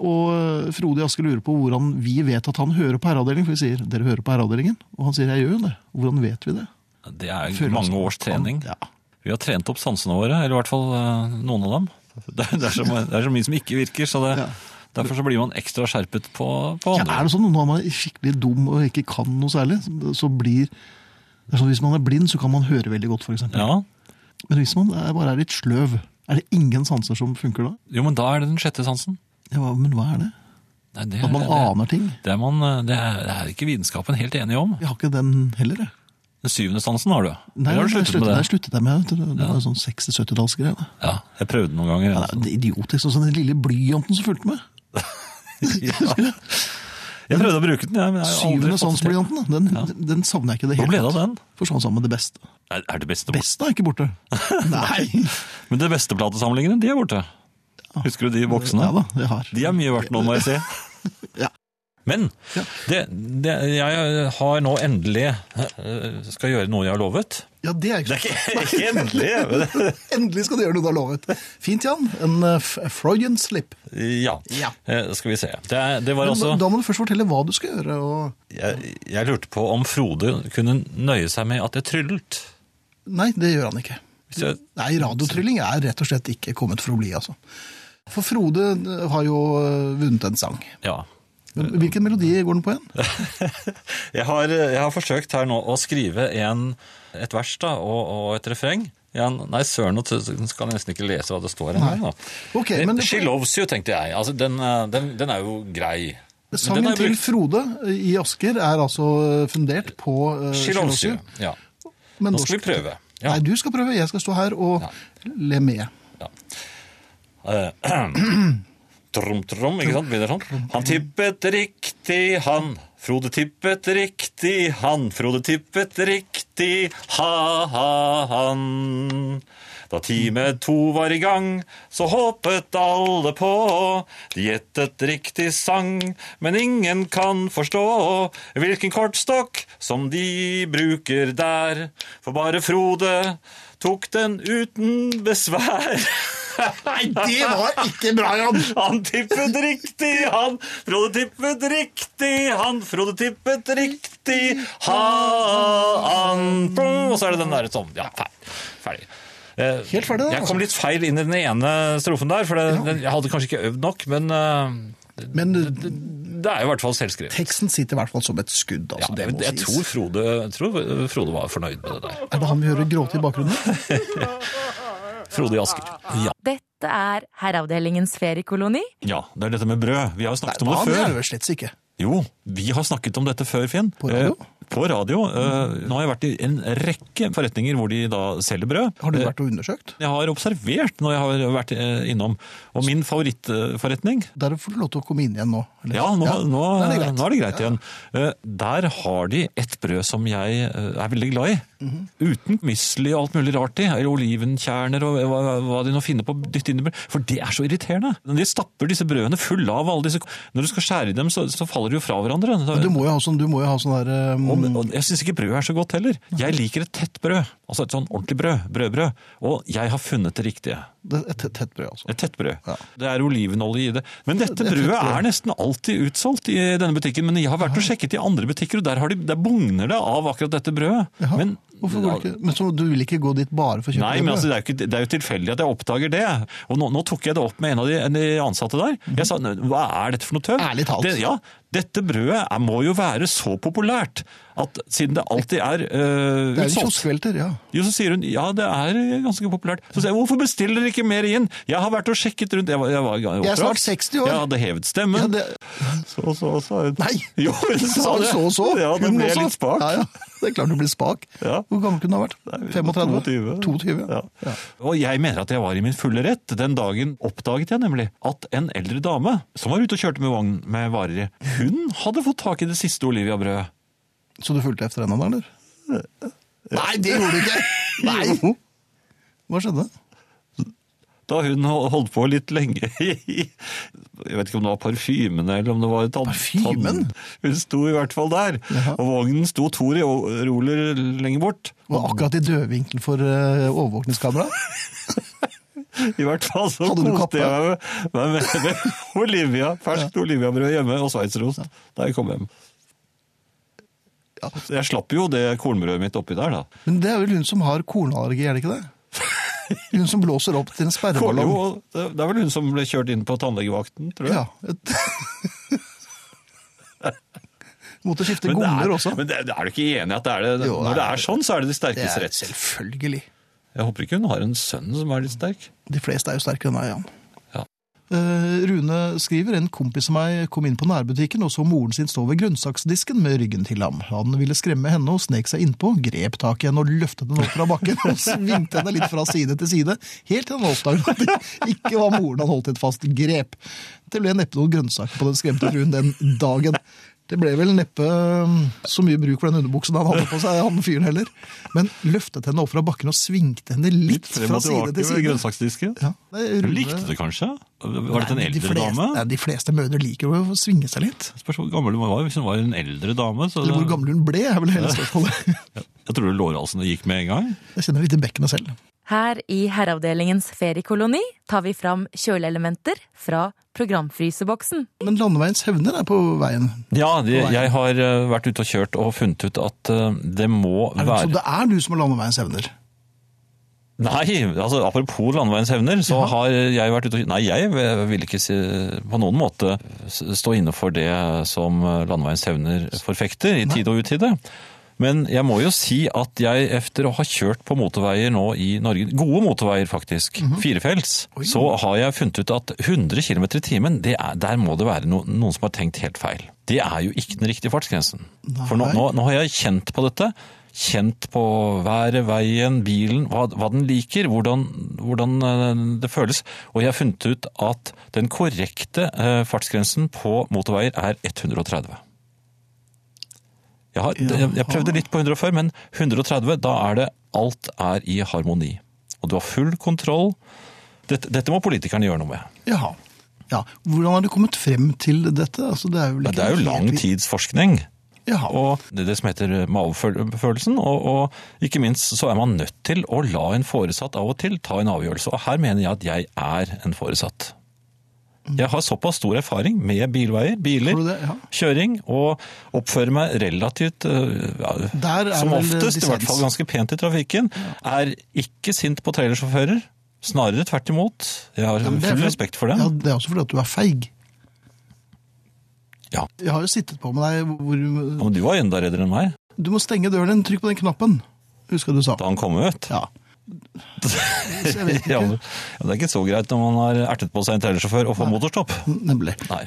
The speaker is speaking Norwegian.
Og eh, Frode i Asker lurer på hvordan vi vet at han hører på herreavdelingen. For vi sier 'dere hører på herreavdelingen', og han sier 'jeg gjør jo det'. Hvordan vet vi det? Det er Føler han mange seg- års trening. Han- ja. Vi har trent opp sansene våre, eller i hvert fall eh, noen av dem. Det er, det er, så, mye- det er så mye som ikke virker, så det, Ja. derfor så blir man ekstra skjerpet på, på Ja, er andre. det sånn når man er skikkelig dum og ikke kan noe særlig, så blir det er sånn, Hvis man er blind, så kan man høre veldig godt, f.eks. Ja, Men hvis man er, bare er litt sløv, er det ingen sanser som funker da? jo, men da er det den sjette sansen. Ja, hva- men hva er det? Nei, det, At man det, aner ting? det, er man, eh, det, er, det er ikke vitenskapen helt enig om. Jeg har ikke den heller, jeg. Den syvende sansen har du. Nei, Eller har du jeg sluttet med sluttet, jeg det? sluttet jeg med. vet du. Det var jo sånn 60-70-tallsgreie. da. Ja, jeg prøvde noen ganger. Ja, altså. det er idiotisk. Og sånn den lille blyanten som fulgte med. Ja. Jeg prøvde å bruke den, jeg, men jeg har Eh, aldri Syvende fått det til. sansblyanten. da. Den, den savner jeg ikke i det Hvor hele ble det av den? Forsvant sammen med det beste. Er er det beste borte? Beste er ikke borte. Nei! Men det beste platesamlingene, de er borte. Husker du de voksne? Ah. Ja da, jeg har. De er mye verdt nå, må jeg si. Ja. Men Ja. det, det, jeg har nå endelig eh, skal gjøre noe jeg har lovet. Ja, det er ikke Det er ikke, ikke endelig! men det- Endelig skal du gjøre noe du har lovet. Fint, Jan. En eh, f- Freudian slip. Ja. Ja. Eh, Skal vi se. Det, er- det var Men da, altså da må du først fortelle hva du skal gjøre. Og... jeg, jeg lurte på om Frode kunne nøye seg med at jeg tryllet. Nei, det gjør han ikke. Hvis jeg, Nei, radiotrylling er rett og slett ikke kommet for å bli, altså. For Frode eh, har jo eh, vunnet en sang. ja. Men Hvilken melodi går den på igjen? jeg, har, jeg har forsøkt her nå å skrive en, et vers da, og, og et refreng. Ja, nei, søren, nå skal jeg nesten ikke lese hva det står. engang, Nei. da. Ok, men She loves you, tenkte jeg. Altså, den, eh, den, den er jo grei. Men den Sangen har jeg til brukt- Frode i Asker er altså eh, fundert på uh, She loves you. Ja. Men Nå skal vi norsk- prøve. Ja. Nei, du skal prøve. Jeg skal stå her og le med. Eh, Trom, trom, ikke sant? Begynner sånn. Han tippet riktig, han. Frode tippet riktig, han. Frode tippet riktig, ha-ha-han. Da time to var i gang, så håpet alle på. De gjettet riktig sang, men ingen kan forstå hvilken kortstokk som de bruker der. For bare Frode tok den uten besvær. Nei, var ikke bra, Jan! han tippet riktig, han. Frode tippet riktig, han. Frode tippet riktig, han. Og så er det den der sånn. Ja, fer- ferdig. Eh, Helt ferdig, da, Jeg altså. kom litt feil inn i den ene strofen der, for det, den, jeg hadde kanskje ikke øvd nok, men eh, det, Men det er i hvert fall selvskrevet. teksten sitter i hvert fall som et skudd. Ja, Altså, det jeg må jeg sies. tror Frode, jeg tror Frode var fornøyd med det der. Er det han vi hører gråte i bakgrunnen? Frode i Asker. Ja. Dette er Herreavdelingens feriekoloni. ja, det er dette med brød. Vi har jo snakket han er det vel slett ikke. Jo, vi har snakket om dette før, Finn. På radio? Eh, på radio. Eh, nå har jeg vært i en rekke forretninger hvor de da selger brød. Har du Eh, vært og undersøkt? Jeg har observert når jeg har vært eh, innom. Og min favorittforretning Der får du lov til å komme inn igjen nå. eller? ja, nå, Nå, da er er det det greit. greit, igjen. Eh, Der har de et brød som jeg eh, er veldig glad i. Mhm. Uten mysli og alt mulig rart i. eller Olivenkjerner og hva, hva de nå finner på. å dytte inn i brød. For det er så irriterende. De stapper disse brødene fulle av alle disse Når du skal skjære i dem, så, så faller de jo fra hverandre. Da- Du må jo ha sånn, du må jo ha sånn der um, Og, og jeg syns ikke brød er så godt heller. Jeg liker et tett brød. Altså et sånn ordentlig brød. Brødbrød. Og jeg har funnet det riktige. det- Et tett- tett brød, altså. Et tett brød. Ja. Det er olivenolje i det. Men dette Et tett brødet brød. er nesten alltid utsolgt i denne butikken. Men jeg har vært og sjekket i andre butikker, og der, har de, der bugner det av akkurat dette brødet. Jaha, Men, Hvorfor går du ikke? Men så du vil ikke gå dit bare for å kjøpe Nei, det men brødet? altså, det, er jo ikke, det er jo tilfeldig at jeg oppdager det. Og nå, nå tok jeg det opp med en av de, en av de ansatte der. Jeg sa hva er dette for noe tøv? Ærlig talt. Det, ja, dette brødet er, må jo være så populært at siden det alltid er øh, Det er jo utsolgt. kioskvelter, ja. Jo, så sier hun ja, det er ganske populært. Så sier jeg hvorfor bestiller dere ikke mer inn? Jeg har vært og sjekket rundt. Jeg, var, jeg, var, Jeg er snart oppdrags. 60 år. Jeg hadde hevet stemmen. ja det, Så, så, så. nei! Jo, hun sa det. Så og så. Ja, det Hun ble også. litt spak. Ja, ja. Det er klart du blir spak. Ja. Hvor gammel kunne du ha vært? 35? 22. 22, ja. Ja. Og jeg mener at jeg var i min fulle rett. Den dagen oppdaget jeg nemlig at en eldre dame som var ute og kjørte med vogn med varer i, hun hadde fått tak i det siste Olivia-brødet. Så du fulgte etter henne da, eller? Nei, det gjorde du ikke! Nei! Hva skjedde? Da hun hol- holdt på litt lenge i Jeg vet ikke om det var parfymene eller om det var tann... Parfymen? tann- Hun sto i hvert fall der. Jaha. Og vognen sto to reoler lenger bort. eh, Var akkurat i dødvinkel for uh, overvåkningskamera? I hvert fall så Hadde du kappe? koste jeg meg med, med, med, med Olivia, ferskt oliviabrød hjemme og sveitserost da jeg kom hjem. Ja. Så jeg slapp jo det kornbrødet mitt oppi der, da. Men det er vel hun som har kornallergi, er det ikke det? Hun som blåser opp til en Kom, jo, sperreballong. det det er vel hun som ble kjørt inn på tannlegevakten, tror jeg. Ja. Et... Måtte skifte Men det er- gonger også. Men det, er du ikke enig i at det er det? Jo, Når det nei, er sånn, så er det de Det sterkes er rett. selvfølgelig. Jeg håper ikke hun har en sønn som er litt sterk. De fleste er jo sterkere enn meg, Jan. Ja. Eh, Rune skriver en kompis av meg kom inn på nærbutikken og så moren sin stå ved grønnsaksdisken med ryggen til ham. Han ville skremme henne og snek seg innpå, grep tak i henne og løftet henne opp fra bakken og svingte henne litt fra side til side, helt til han oppdaget at det ikke var moren han holdt i et fast grep. Det ble neppe noen grønnsaker på den skremte fruen den dagen. Det ble vel neppe um, så mye bruk for den underbuksen han hadde på seg, han fyren heller. Men løftet henne opp fra bakken og svingte henne litt Frem fra og side tilbake til ved side. grønnsaksdisken. Ja, det er Hun Rune- likte det kanskje? Var dette en Nei, de eldre fleste, dame? Nei, de fleste mødre liker jo å svinge seg litt. Spørs hvor gammel hun var. Hvis hun var en eldre dame, så Eller hvor gammel hun ble, er vel hele spørsmålet. Jeg tror lårhalsene gikk med en gang. Jeg kjenner litt i bekkenet selv. Her i Herreavdelingens feriekoloni tar vi fram kjøleelementer fra programfryseboksen. Men landeveiens hevner er på veien. Ja, de, jeg har eh, vært ute og kjørt og funnet ut at eh, det må Er det, så være det er du som har landeveiens hevner. Nei, altså apropos landeveiens hevner, så har jeg vært ute og Nei, jeg vil ikke si, på noen måte s- stå inne for det som landeveiens hevner forfekter, i tide og utide. Men jeg må jo si at jeg efter å ha kjørt på motorveier nå i Norge, gode motorveier faktisk, firefelts, Mhm. Oi. så har jeg funnet ut at 100 km i timen, det er, der må det være no, noen som har tenkt helt feil. Det er jo ikke den riktige fartsgrensen. For nå, Nei. nå, nå har jeg kjent på dette. Kjent på været, veien, bilen, hva, hva den liker, hvordan, hvordan eh, det føles. Og jeg har funnet ut at den korrekte eh, fartsgrensen på motorveier er 130. Jeg, har, jeg, jeg prøvde litt på 140, men 130, da er det alt er i harmoni. Og du har full kontroll. Dette, dette må politikerne gjøre noe med. Jaha. Ja. Hvordan har du kommet frem til dette? Altså, det er jo, Men det er jo lang tids forskning. Jaha. Og det, det som heter magefølelsen, og, og ikke minst så er man nødt til å la en foresatt av og til ta en avgjørelse. Og her mener jeg at jeg er en foresatt. Jeg har såpass stor erfaring med bilveier, biler, Har du det? Ja. kjøring, og oppfører meg relativt øh, ja, Der er som vel oftest, i dissens. hvert fall ganske pent i trafikken, er ikke sint på trailersjåfører. Snarere tvert imot. Jeg har men det er full for- respekt for Ja, dem. det er også fordi at du er feig. Ja. Jeg har jo sittet på med deg hvor Men du var enda reddere enn meg Du må stenge døren din, trykk på den knappen. Husker du sa. da han kom ut. Ja. Så jeg vet ikke. Ja, men- ja, det er ikke så greit når man har ertet på seg en trailersjåfør og får motorstopp. Nemlig. Nei.